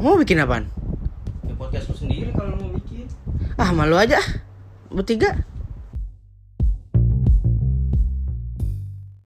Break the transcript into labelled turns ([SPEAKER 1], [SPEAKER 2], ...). [SPEAKER 1] Mau bikin apaan?
[SPEAKER 2] Ya podcast lu sendiri kalau lu mau bikin.
[SPEAKER 1] Ah malu aja. Bertiga.